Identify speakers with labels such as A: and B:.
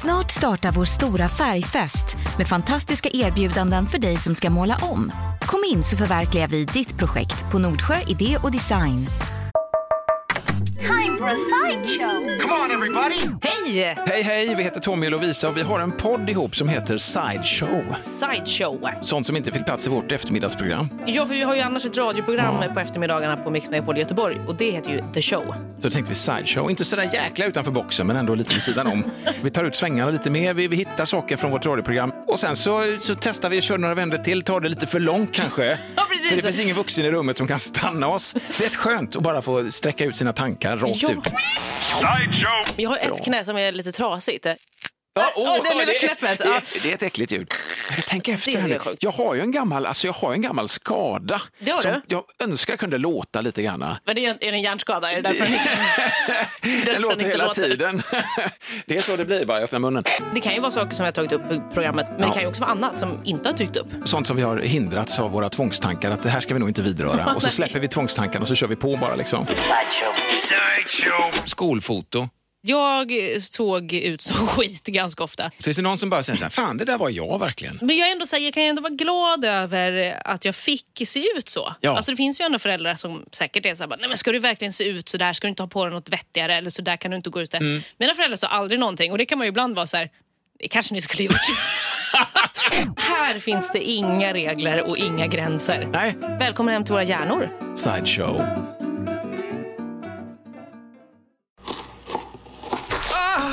A: Snart startar vår stora färgfest med fantastiska erbjudanden för dig som ska måla om. Kom in så förverkligar vi ditt projekt på Nordsjö Idé och Design.
B: Time for a sideshow.
C: Come on, everybody!
D: Hej!
C: Hej, hej! Vi heter Tommy och Lovisa och vi har en podd ihop som heter Sideshow.
D: Sideshow.
C: Sånt som inte fick plats i Alltså, vårt eftermiddagsprogram.
D: Ja, för vi har ju annars ett radioprogram på eftermiddagarna på Mix Megapol i Göteborg och det heter ju The Show.
C: Så tänkte vi Sideshow. Inte sådär jäkla utanför boxen, men ändå lite vid sidan om. Vi tar ut svängarna lite mer, vi, vi hittar saker från vårt radioprogram. Och sen så, så testar vi och kör några vändor till, tar det lite för långt kanske.
D: Ja, precis.
C: För det finns ingen vuxen i rummet som kan stanna oss. Det är rätt skönt att bara få sträcka ut sina tankar rakt
D: Ja.
C: ut.
D: Jag har
C: Bra.
D: ett knä som är lite trasigt.
C: Ja,
D: åh, det är lilla knäppet,
C: det,
D: ja.
C: det är ett äckligt ljud. Jag ska tänka efter
D: Det är
C: här nu.
D: sjukt.
C: Jag har ju en gammal, alltså jag har en gammal skada.
D: Det har
C: som
D: du.
C: Jag önskar kunde låta lite grann.
D: Men det är, är det en hjärnskada? Är det därför den inte- därför
C: Den
D: den
C: låter
D: inte
C: hela tiden. Det är så det blir bara, jag öppnar munnen.
D: Det kan ju vara saker som jag har tagit upp i programmet, men
C: Ja.
D: det kan ju också vara annat som inte har dykt upp.
C: Sånt som vi har hindrats av våra tvångstankar, att det här ska vi nog inte vidröra. Och så
D: Nej.
C: släpper vi tvångstankarna och så kör vi på bara liksom. Skolfoto.
D: Jag såg ut som skit ganska ofta.
C: Finns det någon som bara säger så här, fan det där var jag verkligen.
D: Men jag, är ändå, så här, jag kan ju ändå vara glad över att jag fick se ut så.
C: Ja.
D: Alltså, det finns ju ändå föräldrar som säkert är så här, bara, nej men ska du verkligen se ut så där? Ska du inte ha på dig något vettigare? Eller så där kan du inte gå ute. Mina föräldrar sa aldrig någonting och det kan man ju ibland vara så här, det kanske ni skulle gjort. här finns det inga regler och inga gränser.
C: Nej,
D: Välkommen hem till våra hjärnor.
C: sideshow.